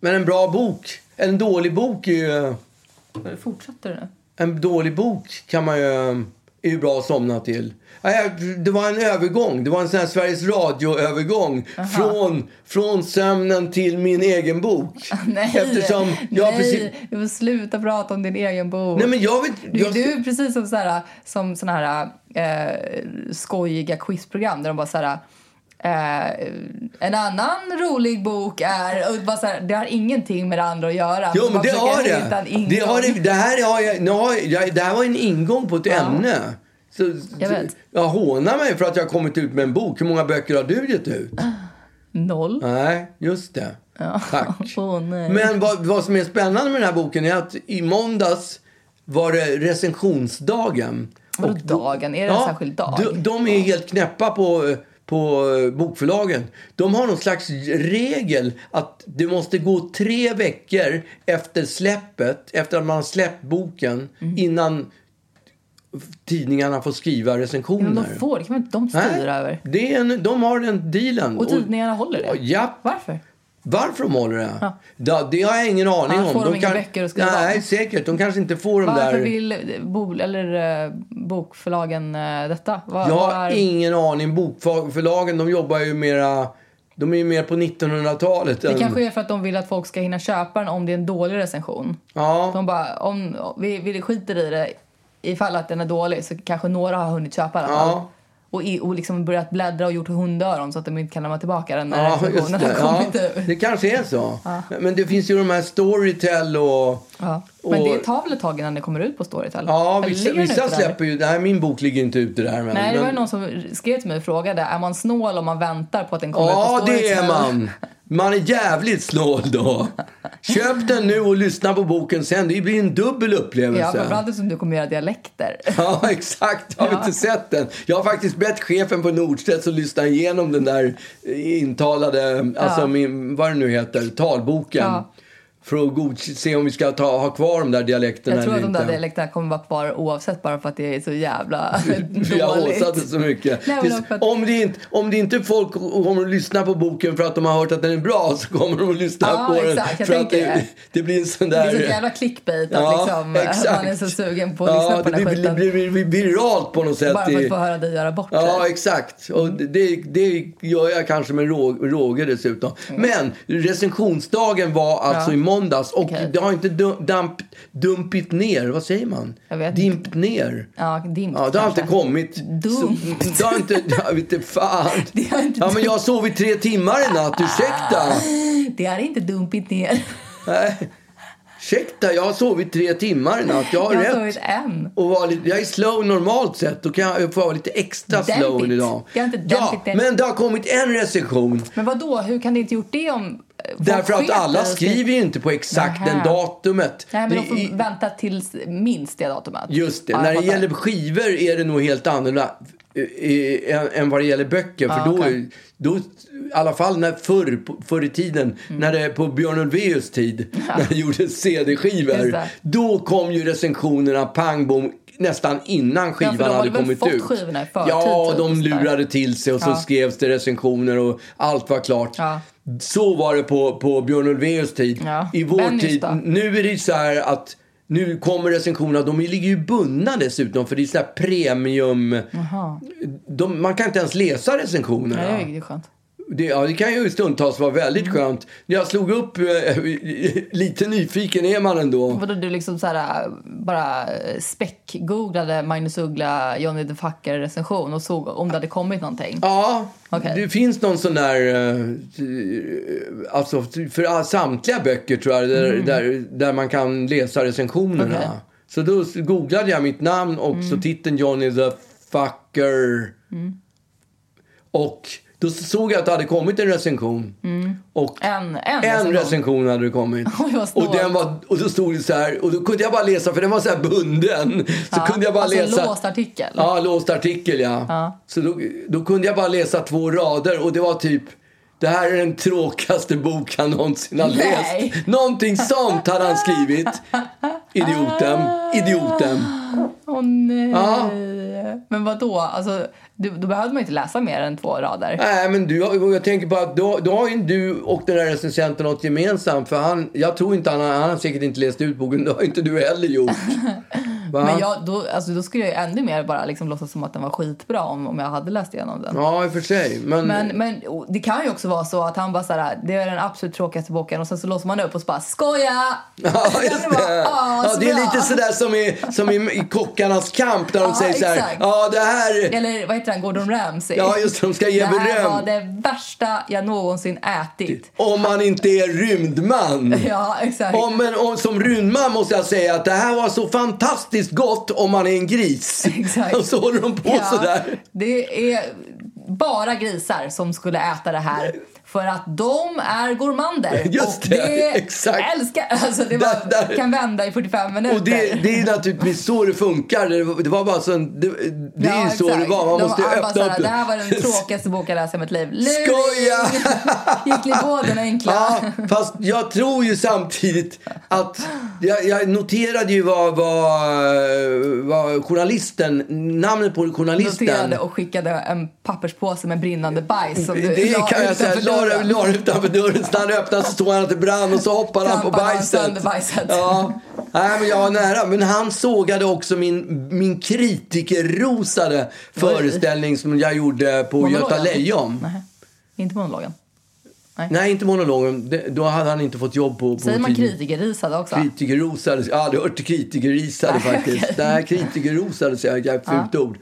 Speaker 2: Men en bra bok, en dålig bok är ju...
Speaker 1: Fortsätter du nu?
Speaker 2: en dålig bok kan man ju, eh, är ju bra att somna till. Nej, Det var en övergång. Det var en sån här Sveriges Radio-övergång. Från, från sömnen till min egen bok.
Speaker 1: [LAUGHS] Nej,
Speaker 2: Eftersom jag
Speaker 1: nej,
Speaker 2: precis...
Speaker 1: du får sluta prata om din egen bok.
Speaker 2: Nej, men jag vet...
Speaker 1: Du,
Speaker 2: Jag,
Speaker 1: du är precis som såna här, som såna här eh, skojiga quizprogram där de bara så här... Eh, en annan rolig bok är... Och bara så här, det har ingenting med det andra att göra.
Speaker 2: Jo,
Speaker 1: Så
Speaker 2: men
Speaker 1: man
Speaker 2: det
Speaker 1: försöker
Speaker 2: har
Speaker 1: hitta
Speaker 2: det.
Speaker 1: en ingång.
Speaker 2: Det, har det, det, här har jag, nu har jag, det här var en ingång på ett ämne. Så,
Speaker 1: Jag vet.
Speaker 2: jag hånar mig för att jag har kommit ut med en bok. Hur många böcker har du gett ut?
Speaker 1: Ah. Noll.
Speaker 2: Nej, just det. Tack.
Speaker 1: Åh, nej.
Speaker 2: Men vad, vad som är spännande med den här boken är att i måndags var det recensionsdagen.
Speaker 1: Vadå
Speaker 2: Och då-
Speaker 1: dagen? Är det en särskild dag?
Speaker 2: De, de är helt knäppa på, på eh, bokförlagen. De har någon slags regel att det måste gå tre veckor efter släppet, efter att man har släppt boken, innan tidningarna får skriva recensioner.
Speaker 1: Mhm. Men de får, det kan väl inte de
Speaker 2: Nej,
Speaker 1: styra över?
Speaker 2: Det är en, de har den dealen.
Speaker 1: Och tidningarna håller det?
Speaker 2: Ja,
Speaker 1: Varför?
Speaker 2: varför de håller det? Det, det har jag ingen aning
Speaker 1: Ja,
Speaker 2: om.
Speaker 1: får de inga böcker att skriva
Speaker 2: Nej,
Speaker 1: om?
Speaker 2: säkert. De kanske inte får de
Speaker 1: Varför
Speaker 2: där...
Speaker 1: vill bo, eller, eh, bokförlagen eh, detta? Vad-
Speaker 2: Jag
Speaker 1: vad
Speaker 2: har
Speaker 1: är-
Speaker 2: ingen aning. Bokförlagen, de jobbar ju mera... De är ju mer på 1900-talet.
Speaker 1: Det kanske är för att de vill att folk ska hinna köpa den om det är en dålig recension.
Speaker 2: Ja,
Speaker 1: De bara, om vi, vi skiter i det ifall att den är dålig så kanske några har hunnit köpa den.
Speaker 2: Ja.
Speaker 1: Och, i, och liksom börjat bläddra och gjort hundöron så att de inte kan lämna tillbaka den när
Speaker 2: ja just
Speaker 1: recensionen [LAUGHS] typ.
Speaker 2: det.
Speaker 1: har
Speaker 2: Ja,
Speaker 1: kommit ut.
Speaker 2: det kanske är så. Men det finns ju de här Storytel och...
Speaker 1: Ja. Men
Speaker 2: och-
Speaker 1: det tar väl ett tag innan det kommer ut på Storytel?
Speaker 2: Ja,
Speaker 1: Eller
Speaker 2: vissa,
Speaker 1: ligger den
Speaker 2: vissa
Speaker 1: ute där?
Speaker 2: släpper ju... Nej, min bok ligger inte ute där. Men,
Speaker 1: Nej, det var ju
Speaker 2: men-
Speaker 1: någon som skrev till mig och frågade, är man snål om man väntar på att den kommer ut
Speaker 2: Ja,
Speaker 1: på
Speaker 2: det
Speaker 1: Storytel?
Speaker 2: är man. Man är jävligt snål då. Köp den nu och lyssna på boken sen. Det blir en dubbel
Speaker 1: Ja,
Speaker 2: upplevelse.
Speaker 1: framförallt eftersom du kommer göra dialekter.
Speaker 2: Ja, exakt. Har vi inte sett den? Jag har faktiskt bett chefen på Nordstedts att lyssna igenom eh, den där intalade, alltså min, vad det nu heter, talboken.
Speaker 1: Ja.
Speaker 2: för att god, se om vi ska ta, ha kvar de där dialekterna
Speaker 1: Jag tror att
Speaker 2: eller
Speaker 1: de där
Speaker 2: inte.
Speaker 1: dialekterna kommer vara kvar oavsett bara för att det är
Speaker 2: [LAUGHS]
Speaker 1: så jävla
Speaker 2: Vi har håsat det
Speaker 1: dåligt.
Speaker 2: så mycket.
Speaker 1: Nej, men
Speaker 2: Tills,
Speaker 1: också att-
Speaker 2: om, det inte, om det inte folk kommer att lyssna på boken för att de har hört att den är bra så kommer de att lyssna
Speaker 1: Ja,
Speaker 2: på den.
Speaker 1: exakt. Jag
Speaker 2: för att
Speaker 1: tänker
Speaker 2: det,
Speaker 1: det.
Speaker 2: det blir en sån
Speaker 1: Det är så
Speaker 2: där...
Speaker 1: jävla clickbait att
Speaker 2: Ja,
Speaker 1: liksom,
Speaker 2: exakt.
Speaker 1: man är så sugen på att lyssna
Speaker 2: Ja,
Speaker 1: på
Speaker 2: det
Speaker 1: den här
Speaker 2: blir, blir,
Speaker 1: skiten.
Speaker 2: blir, blir, blir viralt på något sätt.
Speaker 1: bara för
Speaker 2: i-
Speaker 1: att få höra dig göra bort
Speaker 2: Ja,
Speaker 1: dig.
Speaker 2: exakt. Och det, det gör jag kanske med rå- råge dessutom. Men recensionsdagen var alltså
Speaker 1: Mm. Ja.
Speaker 2: i måndags och
Speaker 1: Okej.
Speaker 2: det har inte du- damp, dumpit ner. Vad säger man?
Speaker 1: Jag vet
Speaker 2: Dimpt ner.
Speaker 1: Ja, dimmt
Speaker 2: Ja, det har
Speaker 1: kanske.
Speaker 2: inte kommit.
Speaker 1: Dumt.
Speaker 2: Så, det har inte... Jag vet inte fan.
Speaker 1: [LAUGHS] Det har inte
Speaker 2: ja, men jag har sovit tre timmar i natt.
Speaker 1: [LAUGHS]
Speaker 2: Ursäkta.
Speaker 1: Det är inte dumpigt ner.
Speaker 2: Nej. Ursäkta, jag har sovit tre timmar i natt. Jag har
Speaker 1: Jag har
Speaker 2: rätt.
Speaker 1: sovit en.
Speaker 2: Och vara lite, jag är slow normalt sett. Då kan jag, jag får vara lite extra
Speaker 1: Dämpigt.
Speaker 2: slow idag.
Speaker 1: Jag har inte
Speaker 2: ja,
Speaker 1: dämpigt det.
Speaker 2: men det har kommit en recension.
Speaker 1: Men vad då? hur kan det inte gjort det om... eh, folk
Speaker 2: Därför att
Speaker 1: sket
Speaker 2: alla
Speaker 1: i det?
Speaker 2: skriver ju inte på exakt
Speaker 1: Nähä.
Speaker 2: den datumet.
Speaker 1: Nej, men
Speaker 2: Det
Speaker 1: de får
Speaker 2: är-
Speaker 1: vänta tills minst det datumet.
Speaker 2: Just det.
Speaker 1: Ja, jag
Speaker 2: När det
Speaker 1: fattar.
Speaker 2: gäller skivor är det nog helt annorlunda eh, eh, än- än vad det gäller böcker. För
Speaker 1: Ja,
Speaker 2: då,
Speaker 1: okej.
Speaker 2: då, i alla fall när förr, på- förr i tiden,
Speaker 1: Mm.
Speaker 2: när det, på Björn Ulvaeus
Speaker 1: [LAUGHS]
Speaker 2: tid, när det gjordes
Speaker 1: Just
Speaker 2: CD-skivor.
Speaker 1: det.
Speaker 2: Då kom ju recensionerna pang bom nästan innan skivan
Speaker 1: de hade
Speaker 2: hade
Speaker 1: väl
Speaker 2: kommit
Speaker 1: fått
Speaker 2: ut.
Speaker 1: skivorna i förtid,
Speaker 2: ja,
Speaker 1: typ,
Speaker 2: de
Speaker 1: och sådär.
Speaker 2: lurade till sig och så
Speaker 1: Ja.
Speaker 2: skrevs det recensioner och allt var klart.
Speaker 1: Ja.
Speaker 2: Så var det på, på Björn Ulvaeus tid.
Speaker 1: Ja.
Speaker 2: I vår
Speaker 1: Bennys
Speaker 2: tid,
Speaker 1: då?
Speaker 2: nu är det ju så här att nu kommer recensionerna, de ligger ju bundna dessutom för det är så här premium... De, man kan inte ens läsa recensionerna.
Speaker 1: Ja, det är ju skönt.
Speaker 2: Det, ja, det kan ju stundtals vara väldigt
Speaker 1: Mm.
Speaker 2: skönt. När jag slog upp, eh, [LAUGHS] lite nyfiken är man ändå.
Speaker 1: Vadå, du liksom så här, äh, bara äh, späck-googlade Magnus Uggla, Johnny the Fucker recension och såg om det hade kommit någonting?
Speaker 2: Ja,
Speaker 1: Okej.
Speaker 2: det finns någon sån där... eh, Alltså, för all- samtliga böcker tror jag, där, där, där man kan läsa recensionerna.
Speaker 1: Mm. Okej. Mm.
Speaker 2: Så då googlade jag mitt namn och så titeln Johnny the Fucker. Och då såg jag att det hade kommit en recension. Och
Speaker 1: En, en,
Speaker 2: en
Speaker 1: recension.
Speaker 2: recension hade det kommit.
Speaker 1: Mm. [LAUGHS] Oj, vad snålt.
Speaker 2: och, den var, och då stod det så här, och då kunde jag bara läsa, för den var så här bunden. Så
Speaker 1: Ja,
Speaker 2: kunde jag bara
Speaker 1: alltså
Speaker 2: läsa.
Speaker 1: låst artikel?
Speaker 2: Ja, låst artikel ja. Så då, då kunde jag bara läsa två rader och det var typ det här är den tråkigaste bok han någonsin har
Speaker 1: Nej.
Speaker 2: läst. Någonting sånt hade han skrivit. Idioten. Idioten.
Speaker 1: Åh nej.
Speaker 2: Ja.
Speaker 1: Men vad då? Alltså, du, då behövde man ju inte läsa mer än två rader.
Speaker 2: Nej, men du, har- jag tänker på att då, då har ju du och den här recensenten något gemensamt. För han, jag tror inte han, har- han har säkert inte läst ut boken. Det har inte du heller
Speaker 1: [LAUGHS]
Speaker 2: gjort. Va?
Speaker 1: Men jag, då, alltså, då skulle jag ju ännu mer bara liksom låtsas som att den var skitbra om, om jag hade läst igenom den.
Speaker 2: Ja, i och för sig. Men,
Speaker 1: Men, men och det kan ju också vara så att han bara såhär, det är den absolut tråkigaste boken och sen så låser man upp och så
Speaker 2: [LAUGHS]
Speaker 1: bara skoja! [LAUGHS]
Speaker 2: Ja, just
Speaker 1: bara,
Speaker 2: det.
Speaker 1: "Ah,
Speaker 2: Ja,
Speaker 1: så
Speaker 2: det är
Speaker 1: bra."
Speaker 2: lite sådär som i, som i, i Kockarnas kamp där de
Speaker 1: Ja,
Speaker 2: säger så här.
Speaker 1: exakt.
Speaker 2: Ja, det här...
Speaker 1: Eller vad heter han, Gordon Ramsay?
Speaker 2: Ja, just det, de ska ge
Speaker 1: det här var
Speaker 2: beröm.
Speaker 1: det värsta jag någonsin ätit.
Speaker 2: Om man inte är rymdman.
Speaker 1: [LAUGHS] Ja, exakt.
Speaker 2: Om en, om, som rymdman måste jag säga att det här var så fantastiskt gott om man är en gris.
Speaker 1: [LAUGHS] Exakt.
Speaker 2: Och så håller de på
Speaker 1: Ja,
Speaker 2: sådär.
Speaker 1: Det är bara grisar som skulle äta det här. För att de är gourmander.
Speaker 2: [LAUGHS] Just
Speaker 1: och
Speaker 2: det,
Speaker 1: det
Speaker 2: exakt.
Speaker 1: älskar... Alltså det
Speaker 2: Där-
Speaker 1: bara
Speaker 2: där.
Speaker 1: kan vända i 45 minuter.
Speaker 2: Och det, det är naturligtvis så det funkar. Det var- Det var bara så en, det, det är ju så det var. Man
Speaker 1: De
Speaker 2: måste
Speaker 1: var alla
Speaker 2: öppna
Speaker 1: såhär,
Speaker 2: upp.
Speaker 1: Det här
Speaker 2: [LAUGHS]
Speaker 1: var den tråkigaste boken jag läst i mitt liv. Luring!
Speaker 2: Skoja!
Speaker 1: [LAUGHS] Gick ni på den enkla?
Speaker 2: Ja,
Speaker 1: [LAUGHS]
Speaker 2: fast jag tror ju samtidigt att... Jag, jag noterade ju vad, vad, vad journalisten, namnet på journalisten...
Speaker 1: Noterade och skickade en papperspåse med brinnande bajs som du
Speaker 2: Det
Speaker 1: la
Speaker 2: kan jag säga.
Speaker 1: utanför
Speaker 2: La det-
Speaker 1: dörren.
Speaker 2: la det utanför dörren. Så när han öppnade så såg han att det brann och så hoppade han på
Speaker 1: Trampade han
Speaker 2: bajset.
Speaker 1: sönder bajset.
Speaker 2: Ja. Nej, men jag var nära. Men han sågade också min, min kritikerrosade föreställning som jag gjorde på
Speaker 1: Monologen.
Speaker 2: Göta Lejon.
Speaker 1: Nähä. Inte monologen.
Speaker 2: Nej, inte monologen. Det- Då hade han inte fått jobb på, på
Speaker 1: Säger man
Speaker 2: tidningen.
Speaker 1: kritikerrisade också?
Speaker 2: Kritikerrosade, jag har aldrig hört kritikerrisade
Speaker 1: Nej,
Speaker 2: faktiskt.
Speaker 1: okej.
Speaker 2: Nej, kritikerrosade säger jag, ett fult ord.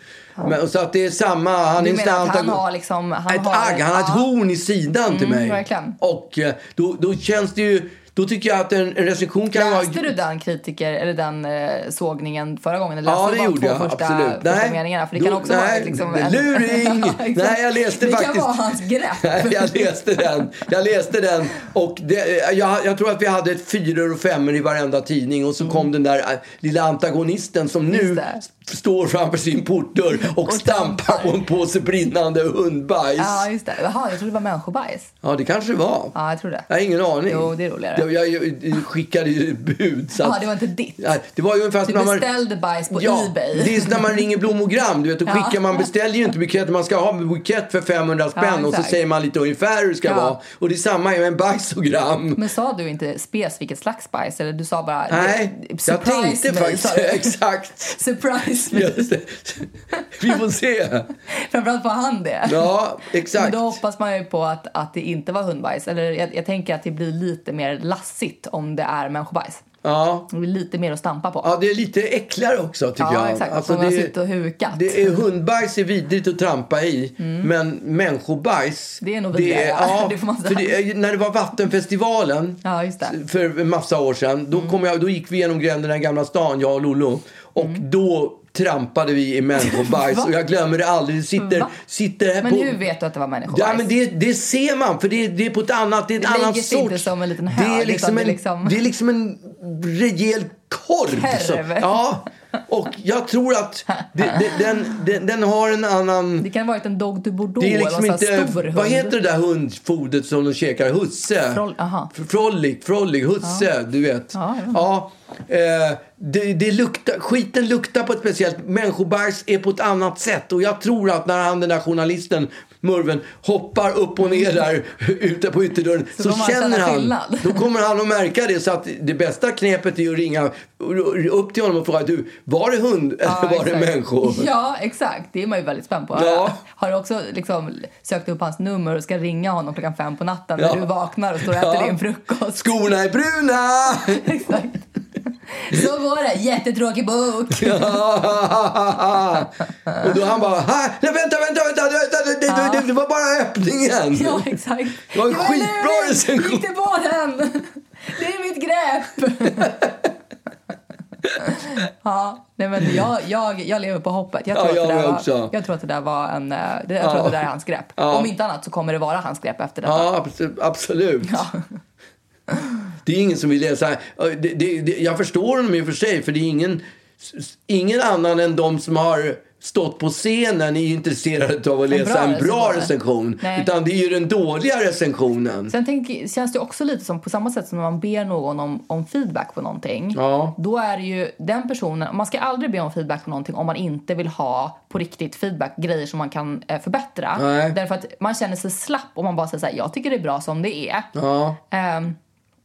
Speaker 2: Men, så att det är samma, han är
Speaker 1: Du
Speaker 2: en
Speaker 1: menar att han
Speaker 2: antagon-
Speaker 1: har liksom... Han
Speaker 2: ett
Speaker 1: har,
Speaker 2: agg, han har ett
Speaker 1: ja.
Speaker 2: horn i sidan till
Speaker 1: Mm,
Speaker 2: mig.
Speaker 1: verkligen.
Speaker 2: Och eh, då, då känns det ju, då tycker jag att en, en recension kan vara...
Speaker 1: Läste du den kritiker, eller den eh, sågningen förra gången? Eller läste
Speaker 2: Ja,
Speaker 1: du
Speaker 2: det
Speaker 1: bara
Speaker 2: gjorde
Speaker 1: två
Speaker 2: jag.
Speaker 1: första,
Speaker 2: absolut.
Speaker 1: första meningarna? För det kan
Speaker 2: då-
Speaker 1: också
Speaker 2: nej,
Speaker 1: vara liksom...
Speaker 2: Luring!
Speaker 1: [LAUGHS] Ja, exakt.
Speaker 2: nej, jag läste
Speaker 1: det
Speaker 2: faktiskt...
Speaker 1: kan vara hans grepp.
Speaker 2: [LAUGHS] Nej, jag läste den. Jag läste den. Och det, eh, jag, jag tror att vi hade ett fyror och femmor i varenda tidning. Och så kom den där eh, lilla antagonisten som
Speaker 1: Mm. Just
Speaker 2: nu
Speaker 1: det.
Speaker 2: s- står framför sin portdörr och, stampar på en påse brinnande hundbajs.
Speaker 1: Ja,
Speaker 2: Ja,
Speaker 1: just det. Jaha, jag trodde det var människobajs.
Speaker 2: det kanske det var.
Speaker 1: Ja, jag tror det.
Speaker 2: Jag har ingen aning.
Speaker 1: Jo, det är roligare.
Speaker 2: jag, jag, jag skickade ju bud. Så
Speaker 1: Ja, det var inte ditt.
Speaker 2: Nej, det var ju ungefär
Speaker 1: Du
Speaker 2: som när man...
Speaker 1: beställde bajs på
Speaker 2: ja,
Speaker 1: Ebay.
Speaker 2: det är som när man ringer blomogram. Du vet, då
Speaker 1: Ja.
Speaker 2: skickar man beställer ju inte buketter. Man ska ha en bukett för 500 spänn och så
Speaker 1: exakt.
Speaker 2: säger man lite ungefär hur det ska
Speaker 1: Ja.
Speaker 2: vara. Och det är samma med en bajsogram.
Speaker 1: [LAUGHS] Men sa du inte specifikt slags bajs? Eller du sa bara...
Speaker 2: Nej, jag
Speaker 1: surprise
Speaker 2: tänkte
Speaker 1: me, sa
Speaker 2: faktiskt [LAUGHS]
Speaker 1: du.
Speaker 2: exakt.
Speaker 1: [LAUGHS] Surprise me.
Speaker 2: Just det. Vi får se.
Speaker 1: Framförallt var han det.
Speaker 2: Ja, exakt.
Speaker 1: Men då hoppas man ju på att, att det inte var hundbajs. Eller jag, jag tänker att det blir lite mer lassigt om det är människobajs.
Speaker 2: Ja.
Speaker 1: Det blir lite mer att stampa på.
Speaker 2: Ja, det är lite äckligare också tycker
Speaker 1: Ja,
Speaker 2: jag. Alltså,
Speaker 1: exakt. Som
Speaker 2: det,
Speaker 1: har suttit och hukat.
Speaker 2: Det är, hundbajs är vidrigt att trampa i, men människobajs...
Speaker 1: Mm. Det är nog vidrigare.
Speaker 2: ja,
Speaker 1: [LAUGHS] Det får man säga.
Speaker 2: för det, när det var Vattenfestivalen
Speaker 1: Ja, just det. Mm.
Speaker 2: för en massa år sedan, då, kom jag, då gick vi genom gränderna i Gamla stan, jag och Lollo. Och då trampade vi i människobajs
Speaker 1: Mm. [LAUGHS] Va?
Speaker 2: och jag glömmer det aldrig. Det sitter,
Speaker 1: Va?
Speaker 2: sitter här
Speaker 1: Men
Speaker 2: på...
Speaker 1: hur vet du att det var människobajs?
Speaker 2: Ja, men det, det ser man, för det, det är på ett annat... Det är ett
Speaker 1: Det
Speaker 2: annan
Speaker 1: lägger sig
Speaker 2: sorts...
Speaker 1: inte som en liten
Speaker 2: det, är
Speaker 1: hög,
Speaker 2: liksom
Speaker 1: utan
Speaker 2: en,
Speaker 1: det liksom-
Speaker 2: det är liksom en rejäl korv.
Speaker 1: Korv.
Speaker 2: som- ja, och jag tror att det, det, den, den, den har en annan...
Speaker 1: Det kan ha varit en dog du bordeaux
Speaker 2: Det är liksom
Speaker 1: eller en sån här
Speaker 2: inte...
Speaker 1: alltså, stor hund.
Speaker 2: Vad heter det där hundfodret som de käkar? Husse?
Speaker 1: Froll- aha.
Speaker 2: F- Frollig, frollig, husse, du vet.
Speaker 1: Ja,
Speaker 2: Eh, det, det luktar, skiten luktar på ett speciellt... Människobajs är på ett annat sätt. Och jag tror att när han, den där journalisten, Murven, hoppar upp och ner där [LAUGHS] ute på ytterdörren så,
Speaker 1: Så kommer han
Speaker 2: känner
Speaker 1: känna
Speaker 2: han...
Speaker 1: skillnad.
Speaker 2: Då kommer han att märka det. Så att det bästa knepet är att ringa upp till honom och fråga du, var det hund eller
Speaker 1: Ja,
Speaker 2: var det
Speaker 1: exakt.
Speaker 2: människor?
Speaker 1: Ja, exakt. Det är man ju väldigt spänd på.
Speaker 2: Ja.
Speaker 1: Har du också liksom sökt upp hans nummer och ska ringa honom klockan fem på natten
Speaker 2: Ja.
Speaker 1: när du vaknar och står och äter
Speaker 2: Ja.
Speaker 1: din frukost?
Speaker 2: Skorna är bruna!
Speaker 1: Exakt. Så går det.
Speaker 2: [LAUGHS]
Speaker 1: Jättetråkig bok.
Speaker 2: och då han bara, "Ha? nej vänta, vänta, vänta, vänta det, det, det, det var bara öppningen.
Speaker 1: Ja, exakt.
Speaker 2: Det var en skitbra
Speaker 1: lurigt.
Speaker 2: recension.
Speaker 1: Gick det på den? Det är
Speaker 2: [LAUGHS]
Speaker 1: mitt grepp. Ja, nej men jag, jag, jag lever på hoppet. Jag
Speaker 2: Ja,
Speaker 1: tror,
Speaker 2: jag
Speaker 1: att, det
Speaker 2: med
Speaker 1: där
Speaker 2: också.
Speaker 1: var, jag tror att det där var en... eh, Det, jag tror att det där är hans grepp.
Speaker 2: Ja.
Speaker 1: Om inte annat så kommer det vara hans grepp efter detta.
Speaker 2: Ja, abso- absolut. Det är ingen som vill läsa. eh, Det, det, det, jag förstår honom i och för sig, för det är ingen, s- s- ingen annan än de som har stått på scenen är intresserade av att läsa
Speaker 1: bra
Speaker 2: en bra
Speaker 1: recension.
Speaker 2: recension.
Speaker 1: Nej.
Speaker 2: Utan det är ju den dåliga recensionen.
Speaker 1: Sen tänk, känns det också lite som på samma sätt som när man ber någon om, om feedback på någonting.
Speaker 2: Ja.
Speaker 1: Då är det ju den personen, man ska aldrig be om feedback på någonting om man inte vill ha på riktigt feedback, grejer som man kan eh, förbättra.
Speaker 2: Nej.
Speaker 1: Därför att man känner sig slapp om man bara säger så här, jag tycker det är bra som det är.
Speaker 2: Ja.
Speaker 1: Ehm,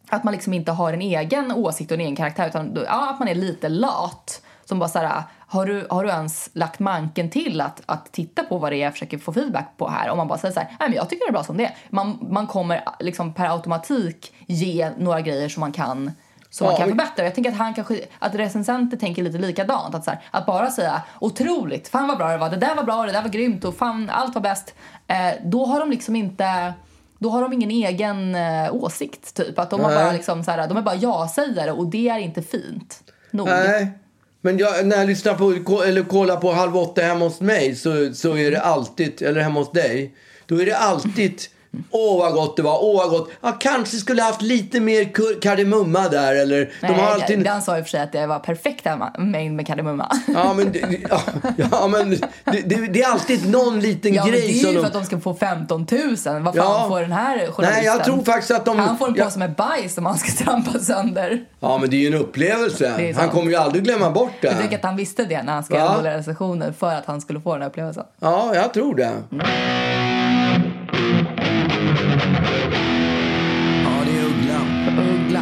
Speaker 1: att man liksom inte har en egen åsikt och en egen karaktär utan då- ja, att man är lite lat. Som bara såhär, har du, har du ens lagt manken till att, att titta på vad det är jag försöker få feedback på här? Om man bara säger såhär, nej men jag tycker det är bra som det är. Man, man kommer liksom per automatik ge några grejer som man kan som
Speaker 2: Ja,
Speaker 1: man kan
Speaker 2: men-
Speaker 1: förbättra. Jag tänker att, han kanske, att recensenter tänker lite likadant. Att, så här, att bara säga otroligt, fan vad bra det var, det där var bra, det där var grymt och fan allt var bäst. Eh, då har de liksom inte, då har de ingen egen eh, åsikt typ. Att de, har
Speaker 2: Nej.
Speaker 1: bara liksom, så här, de är bara ja-sägare och det är inte fint nog.
Speaker 2: Nej. Men jag, när jag lyssnar på ko- eller kollar på Halv åtta hemma hos mig så, så är det alltid, eller hemma hos dig, då är det alltid Åh vad gott det var, åh vad gott. Ja, kanske skulle haft lite mer kur- kardemumma där eller
Speaker 1: Nej,
Speaker 2: de har alltid...
Speaker 1: Dan sa ju för sig att det var perfekt hemma- mängd med kardemumma. [LAUGHS]
Speaker 2: Ja men, det- ja, ja, men det, det, det är alltid någon liten
Speaker 1: Ja, men det
Speaker 2: grej
Speaker 1: är
Speaker 2: som
Speaker 1: ju
Speaker 2: de...
Speaker 1: för att de ska få 15 000. Vad fan
Speaker 2: Ja.
Speaker 1: får den här journalisten?
Speaker 2: Nej, jag tror faktiskt att de-
Speaker 1: Han får en
Speaker 2: jag-
Speaker 1: påse med bajs som han ska [LAUGHS] trampa sönder.
Speaker 2: Ja men det är ju en upplevelse.
Speaker 1: är sant.
Speaker 2: Han kommer ju aldrig glömma bort det.
Speaker 1: Jag tänker att han visste det när han skrev
Speaker 2: Va?
Speaker 1: den dåliga recensionen för att han skulle få den här upplevelsen.
Speaker 2: Ja, jag tror det. Ja, det är Ugglan.
Speaker 1: Uggla.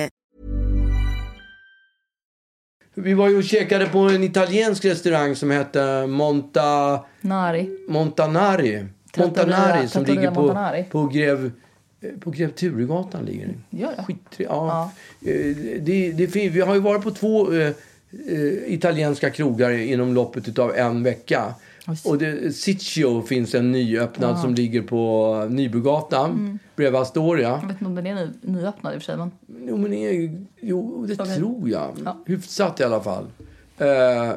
Speaker 2: Vi var ju och käkade på en italiensk restaurang som hette Monta...
Speaker 1: Nari.
Speaker 2: Montanari. Montanari som
Speaker 1: Trattoria
Speaker 2: ligger på,
Speaker 1: Montanari.
Speaker 2: på Grev... eh, På Grev Turegatan ligger den.
Speaker 1: Gör det?
Speaker 2: Skittre- ja. Eh, Det, det är fint. Vi har ju varit på två eh, eh, italienska krogar inom loppet av en vecka. Och det, Sitio finns en nyöppnad som ligger på Nybogatan
Speaker 1: Mm.
Speaker 2: bredvid Astoria.
Speaker 1: Jag vet inte om den är ny, nyöppnad i och för sig. Men
Speaker 2: Jo, men är, jo det
Speaker 1: Okej.
Speaker 2: tror jag.
Speaker 1: Ja.
Speaker 2: Hyfsat i alla fall. Eh,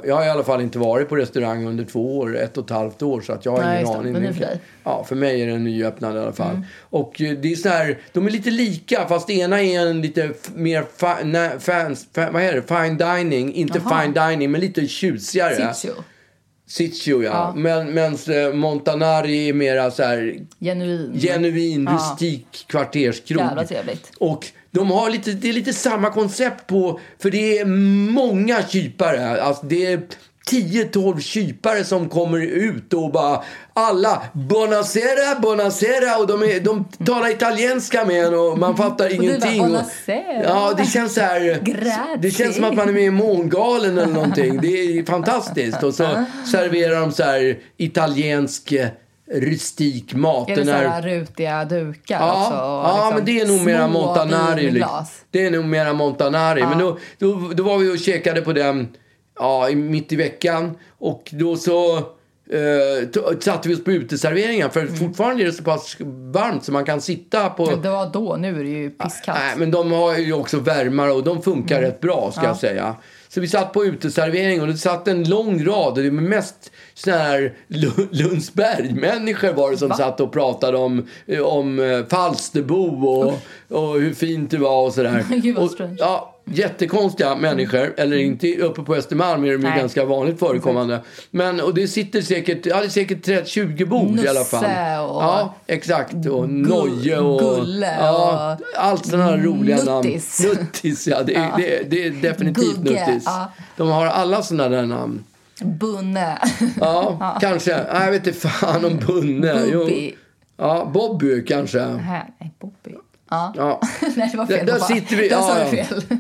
Speaker 2: jag har i alla fall inte varit på restaurang under två år, ett och ett halvt år. Så att jag har
Speaker 1: Nej, just
Speaker 2: ingen
Speaker 1: det.
Speaker 2: aning.
Speaker 1: Men det är för dig. Mm.
Speaker 2: Ja, för mig är den nyöppnad i alla fall. Och eh, det är så här, de är lite lika fast det ena är en lite f- mer fa, na, fans, fa, vad heter det? fine dining. Inte
Speaker 1: Jaha.
Speaker 2: fine dining men lite tjusigare.
Speaker 1: Sitio.
Speaker 2: Sitio ja. Men, mens eh, Montanari är mera så här
Speaker 1: Genuin.
Speaker 2: genuin,
Speaker 1: Mm. Ja.
Speaker 2: rustik kvarterskrog.
Speaker 1: Jävla trevligt.
Speaker 2: Och de har lite, det är lite samma koncept på, för det är många kypare. här. Alltså det är 10-12 kypare som kommer ut och bara alla Bonacera, Bonacera och de, är, de talar italienska med en och man
Speaker 1: [LAUGHS]
Speaker 2: fattar
Speaker 1: bara,
Speaker 2: ingenting.
Speaker 1: "Bonacera."
Speaker 2: ja, det känns så här.
Speaker 1: Grazie.
Speaker 2: Det känns som att man är med i Mångalen eller någonting. Det är fantastiskt. Och så serverar de så här italiensk eh, rustik mat.
Speaker 1: Är det
Speaker 2: Den
Speaker 1: så
Speaker 2: här-
Speaker 1: här rutiga dukar
Speaker 2: Ja,
Speaker 1: också? och
Speaker 2: ja
Speaker 1: liksom
Speaker 2: men det är nog mera
Speaker 1: små
Speaker 2: Montanari. liksom.
Speaker 1: vinglas?
Speaker 2: Det är nog mera Montanari. Men då, då, då var vi och käkade på den ja, i- mitt i veckan. Och då så eh, t- satte vi oss på uteserveringen. För
Speaker 1: Mm.
Speaker 2: fortfarande är det så pass varmt så man kan sitta på...
Speaker 1: Det var då, nu är det ju pisskallt.
Speaker 2: Nej, men de har ju också värmare och de funkar
Speaker 1: Mm.
Speaker 2: rätt bra ska jag säga. Så vi satt på uteservering och det satt en lång rad och det var mest sådana här Lu- Lundsberg-människor var det som satt och pratade om, eh, om eh, Falsterbo och, och hur fint det var och sådär.
Speaker 1: [LAUGHS] Gud, vad
Speaker 2: och,
Speaker 1: strange. Mm.
Speaker 2: ja, jättekonstiga människor. Eller inte uppe på Östermalm är de ju
Speaker 3: Nej.
Speaker 2: ganska vanligt förekommande. Men och det sitter säkert, ja det är säkert 30-20 bord i alla fall.
Speaker 1: Nusse och-
Speaker 2: Ja, exakt. Och Noje och...
Speaker 1: Gulle
Speaker 2: ja,
Speaker 1: och-
Speaker 2: allt sådana här roliga
Speaker 1: Nuttis.
Speaker 2: namn. Nuttis. ja. Det är, det är, det är definitivt
Speaker 1: Gugge,
Speaker 2: Nuttis.
Speaker 1: ja.
Speaker 2: De har alla sådana där namn.
Speaker 1: Bunne.
Speaker 2: Ja, kanske. Nej, jag vet inte fan om Bunne. Jo.
Speaker 1: Bobby.
Speaker 2: Ja, Bobby kanske.
Speaker 1: Här, nej, Bobby. [LAUGHS] Ja.
Speaker 2: Ja.
Speaker 1: nej, det var fel.
Speaker 2: Där- där
Speaker 1: pappa.
Speaker 2: sitter vi-
Speaker 1: Där sa
Speaker 2: ja,
Speaker 1: du
Speaker 2: ja.
Speaker 1: fel.
Speaker 2: [LAUGHS]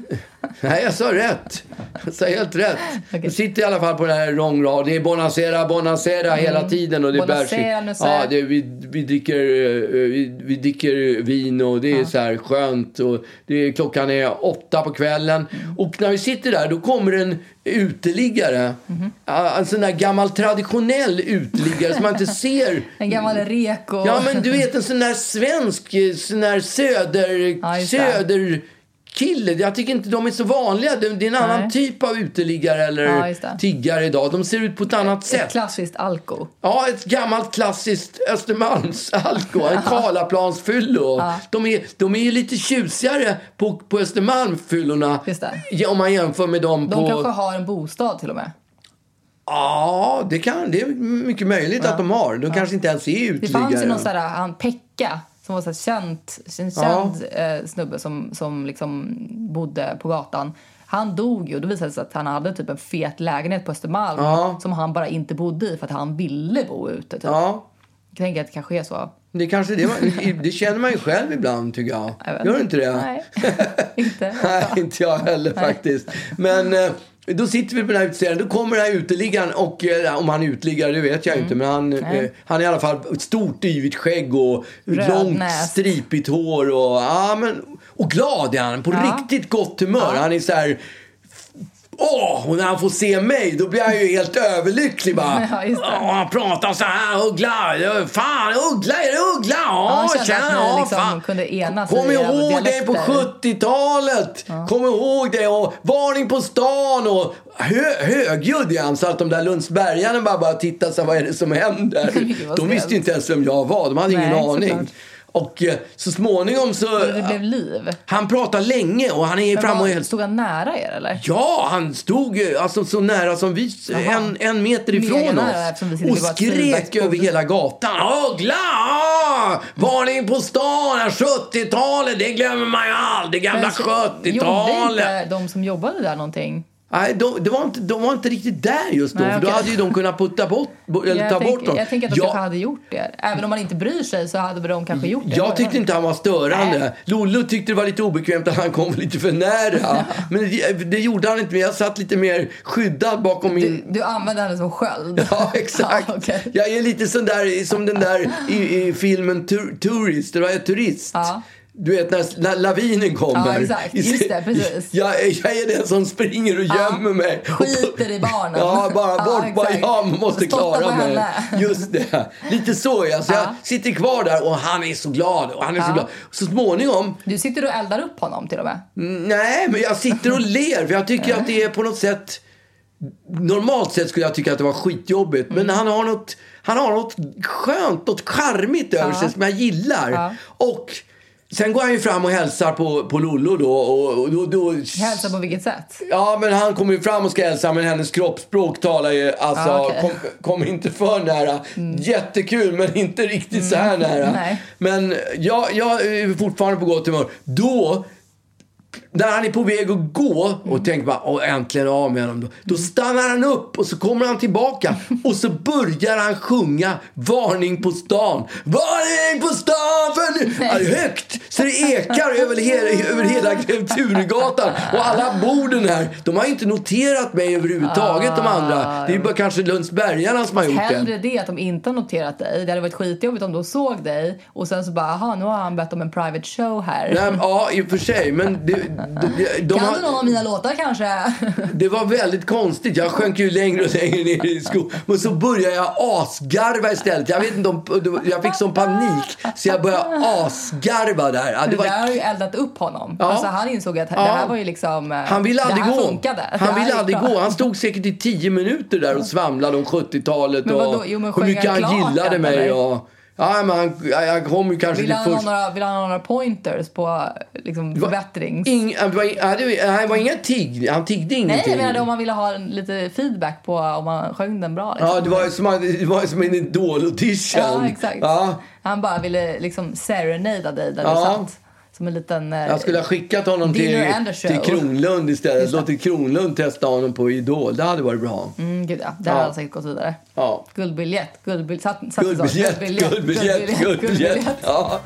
Speaker 2: Nej, jag sa rätt. Jag sa helt rätt. Jag sitter i alla fall på den här lång rad. Det är bonacera, bonacera
Speaker 1: Mm.
Speaker 2: hela tiden. Och det
Speaker 1: Bonacera,
Speaker 2: bärs.
Speaker 1: Nusser.
Speaker 2: Ja, det, vi, vi, dricker, eh, vi, vi dricker vin och det är så här skönt. Och det är, klockan är åtta på kvällen.
Speaker 1: Mm.
Speaker 2: Och när vi sitter där då kommer en uteliggare.
Speaker 1: Mm-hmm.
Speaker 2: Ja, En sån där gammal traditionell uteliggare som man
Speaker 1: [LAUGHS]
Speaker 2: inte ser.
Speaker 1: En gammal reko.
Speaker 2: Mm. Ja, men du vet en sån där svensk, eh, sån där söder...
Speaker 1: Ja, just det.
Speaker 2: söderkille. Jag tycker inte de är så vanliga. Det det är en annan
Speaker 1: Nej.
Speaker 2: typ av uteliggare eller
Speaker 1: Ja, just det.
Speaker 2: tiggare idag. De ser ut på ett annat
Speaker 1: Ett
Speaker 2: sätt.
Speaker 1: [LAUGHS] klassiskt alko.
Speaker 2: Ja, ett gammalt klassiskt Östermalmsalko, en Karlaplansfyllo. De, är, de är ju lite tjusigare på, på Östermalmfyllorna
Speaker 1: Just det.
Speaker 2: Ja, om man jämför med dem
Speaker 1: De
Speaker 2: på...
Speaker 1: kanske har en bostad till och med.
Speaker 2: Ja, det, kan, det är mycket möjligt att de har. De kanske inte ens är
Speaker 1: Det
Speaker 2: uteliggare.
Speaker 1: fanns ju någon sån här, han Pekka, som var så här känt, en känd eh, snubbe som, som liksom bodde på gatan. Han dog ju och då visade det sig att han hade typ en fet lägenhet på Östermalm
Speaker 2: Ja.
Speaker 1: som han bara inte bodde i för att han ville bo ute. Typ.
Speaker 2: Ja.
Speaker 1: Jag tänker att det kanske är så.
Speaker 2: Det kanske det, man, det känner man ju själv ibland tycker jag.
Speaker 1: Jag vet
Speaker 2: Gör du inte det?
Speaker 1: Nej, inte.
Speaker 2: [LAUGHS] Nej, inte jag heller faktiskt. Men eh, då sitter vi på den här uteserien. Då kommer den här uteliggaren och eh, om han är uteliggare det vet jag
Speaker 1: Mm.
Speaker 2: inte. Men han, eh, han är i alla fall ett stort yvigt skägg och
Speaker 1: Röd
Speaker 2: långt
Speaker 1: näs.
Speaker 2: stripigt hår. Och, ja, men, och glad är han. På riktigt gott humör. Han är så här... Åh, och när han får se mig då blir jag ju helt överlycklig bara.
Speaker 1: [LAUGHS] Ja, just det.
Speaker 2: Åh, han pratar så här, Uggla. eh, Fan, Uggla, är det Uggla? Ja,
Speaker 1: han kände att ni
Speaker 2: ja,
Speaker 1: liksom
Speaker 2: fan.
Speaker 1: kunde enas
Speaker 2: Kom
Speaker 1: i era
Speaker 2: ihåg dig på
Speaker 1: dialekter.
Speaker 2: 70-talet! Kom ihåg det! Och varning på stan! Och hö, högljudd är han, så att de där Lundsbergarna bara, bara tittar så här, vad är det som händer?
Speaker 1: [LAUGHS] Gud, vad
Speaker 2: de visste
Speaker 1: snällt.
Speaker 2: ju inte ens vem jag var. De hade ingen
Speaker 1: Nej,
Speaker 2: aning.
Speaker 1: såklart.
Speaker 2: Och eh, så småningom så... eh,
Speaker 1: Det blev liv.
Speaker 2: Han pratar länge och han är
Speaker 1: Men
Speaker 2: framme och
Speaker 1: var,
Speaker 2: helt...
Speaker 1: stod han nära er eller?
Speaker 2: Ja, han stod eh, alltså, så nära som vi, en, en meter
Speaker 1: Mega
Speaker 2: ifrån
Speaker 1: nära,
Speaker 2: oss.
Speaker 1: eftersom vi sitter
Speaker 2: Och
Speaker 1: vid vårt
Speaker 2: skrek
Speaker 1: skrivbordsbord.
Speaker 2: över hela gatan. Åh, gla! Varning på stan, 70-talet, det glömmer man ju aldrig. Gamla
Speaker 1: Men så- Gjorde
Speaker 2: 70-talet.
Speaker 1: inte de som jobbade där någonting?
Speaker 2: Nej, de, det var inte, de var inte riktigt där just då.
Speaker 1: Nej,
Speaker 2: för då
Speaker 1: okej.
Speaker 2: hade ju de kunnat putta bort, bo- eller
Speaker 1: jag
Speaker 2: ta
Speaker 1: tänker-
Speaker 2: bort dem.
Speaker 1: Jag tänker att de
Speaker 2: Ja,
Speaker 1: kanske hade gjort det. Även om man inte bryr sig så hade de kanske gjort det.
Speaker 2: Jag tyckte inte han var störande.
Speaker 1: Nej.
Speaker 2: Lollo tyckte det var lite obekvämt att han kom lite för
Speaker 1: [LAUGHS]
Speaker 2: nära. Men det, det gjorde han inte. Men jag satt lite mer skyddad bakom min...
Speaker 1: Du, du använde henne som sköld?
Speaker 2: [LAUGHS] Ja, exakt.
Speaker 1: [LAUGHS] Ja, Ah, okej.
Speaker 2: Jag är lite sån där, som den där i, i filmen Tur- Tourist. Det var jag turist.
Speaker 1: Ja.
Speaker 2: Du vet när, när lavinen kommer.
Speaker 1: Ja, exakt. Just det, precis.
Speaker 2: Jag, jag är den som springer och gömmer mig.
Speaker 1: Skiter i barnen.
Speaker 2: Ja, bara
Speaker 1: [LAUGHS] Ja,
Speaker 2: bort. bara,
Speaker 1: exakt.
Speaker 2: jag måste
Speaker 1: Spotta på
Speaker 2: klara mig.
Speaker 1: henne.
Speaker 2: Just det. Lite så är jag. Så jag sitter kvar där och han är så glad. Och han är så glad. Så småningom
Speaker 1: Du sitter och eldar upp honom till och med.
Speaker 2: Mm. Nej, men jag sitter och ler för jag tycker att det är på något sätt... Normalt sett skulle jag tycka att det var skitjobbigt men han har något, han har något skönt, något charmigt över sig som jag gillar. Och sen går han ju fram och hälsar på, på Lollo då och, och då... då
Speaker 1: Hälsa på vilket sätt?
Speaker 2: Ja, men han kommer ju fram och ska hälsa men hennes kroppsspråk talar ju alltså,
Speaker 1: Ja, Ah, okej. Mm.
Speaker 2: kom, kom inte för nära. Jättekul men inte riktigt så här nära.
Speaker 1: Nej.
Speaker 2: Men jag, jag är fortfarande på gott humör. Då, när han är på väg att gå och
Speaker 1: Mm.
Speaker 2: tänker bara Åh, äntligen av med honom. Då, då stannar han upp och så kommer han
Speaker 1: [LAUGHS]
Speaker 2: tillbaka och så börjar han sjunga Varning på stan. Varning på stan! För nu. Ja, det är högt så det ekar över, he- över hela Turegatan och alla borden här. De har ju inte noterat mig överhuvudtaget de andra. Det är bara kanske Lundsbergarna som har gjort det.
Speaker 1: Hellre det att de inte har noterat dig. Det hade varit skitjobbigt om de såg dig och sen så bara, aha, nu har han bett om en private show här.
Speaker 2: Nej, men, ja, i och för sig. Men det, det, det- de
Speaker 1: kan
Speaker 2: har-
Speaker 1: du någon av mina låtar kanske?
Speaker 2: [LAUGHS] Det var väldigt konstigt. Jag sjönk ju längre och längre ner i skon. Men så började jag asgarva istället. Jag vet inte om... Jag fick sån panik så jag började asgarva där. Ja, det
Speaker 1: Det där
Speaker 2: var
Speaker 1: har ju eldat upp honom. Alltså han insåg att det här var ju liksom... eh,
Speaker 2: han ville aldrig
Speaker 1: det här
Speaker 2: gå.
Speaker 1: Funkade. Det
Speaker 2: Han
Speaker 1: här
Speaker 2: ville
Speaker 1: gick
Speaker 2: aldrig
Speaker 1: bra.
Speaker 2: gå. Han stod säkert i tio minuter där och svamlade om 70-talet
Speaker 1: Men vadå?
Speaker 2: och
Speaker 1: Jo, men
Speaker 2: hur
Speaker 1: sjöng
Speaker 2: mycket
Speaker 1: han
Speaker 2: han
Speaker 1: klart
Speaker 2: gillade
Speaker 1: den,
Speaker 2: mig.
Speaker 1: eller?
Speaker 2: Och, ja, men han, jag kom ju kanske
Speaker 1: Vill
Speaker 2: till
Speaker 1: han, ha
Speaker 2: först.
Speaker 1: några, vill han ha några pointers på liksom, förbättrings...
Speaker 2: Ing, det var, ja, det var, han var inga tigg. Han tiggde
Speaker 1: Nej,
Speaker 2: ingenting.
Speaker 1: jag menade om man ville ha en, lite feedback på om man sjöng den bra. Liksom.
Speaker 2: Ja, det var ju som, det var ju som en idol-audition.
Speaker 1: Ja, exakt.
Speaker 2: Ja.
Speaker 1: Han bara ville liksom serenada dig där
Speaker 2: Ja.
Speaker 1: du satt. Som en liten... eh,
Speaker 2: Jag skulle ha skickat honom till,
Speaker 1: Dinner and a show.
Speaker 2: till Kronlund istället. Låtit Kronlund testa honom på Idol. Det hade varit bra.
Speaker 1: Mm, gud ja. Där hade han säkert gått vidare.
Speaker 2: Ja.
Speaker 1: Guldbiljett, guldbiljett, satt, satt det så?
Speaker 2: Guldbiljett, guldbiljett, guldbiljett. Ja.